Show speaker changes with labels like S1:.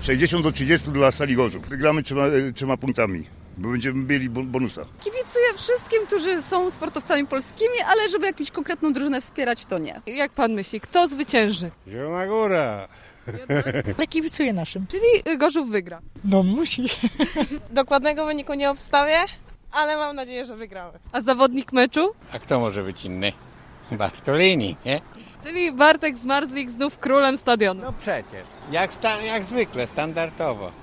S1: 60 do 30 dla Stali Gorzów. Wygramy trzema, e, trzema punktami, bo będziemy mieli bo- bonusa.
S2: Kibicuję wszystkim, którzy są sportowcami polskimi, ale żeby jakąś konkretną drużynę wspierać, to nie.
S3: Jak pan myśli, kto zwycięży?
S4: Zielona Góra.
S5: Kibicuję naszym.
S3: Czyli y, Gorzów wygra.
S5: No musi.
S6: Dokładnego wyniku nie obstawię, ale mam nadzieję, że wygramy.
S3: A zawodnik meczu?
S7: A kto może być inny? Bartolini, nie?
S3: Czyli Bartek Zmarzlik znów królem stadionu.
S4: No przecież.
S7: Jak, sta- jak zwykle, standardowo.